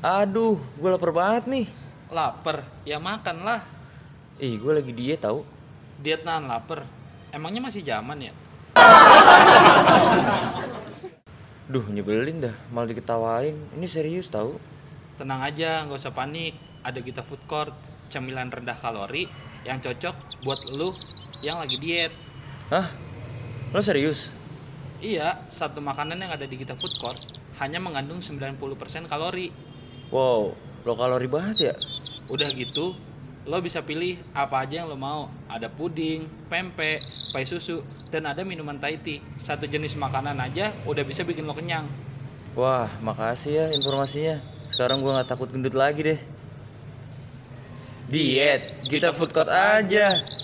Aduh, gue lapar banget nih. Laper, ya makanlah. Ih, gue lagi diet tau. Diet nahan lapar. Emangnya masih zaman ya? Duh, nyebelin dah. Malah diketawain. Ini serius tau. Tenang aja, nggak usah panik. Ada kita food court, cemilan rendah kalori yang cocok buat lu yang lagi diet. Hah? Lo serius? Iya, satu makanan yang ada di kita food court hanya mengandung 90% kalori. Wow, lo kalori banget ya? Udah gitu, lo bisa pilih apa aja yang lo mau. Ada puding, pempek, pai susu, dan ada minuman Thai tea. Satu jenis makanan aja udah bisa bikin lo kenyang. Wah, makasih ya informasinya. Sekarang gue nggak takut gendut lagi deh. Diet, kita food court aja.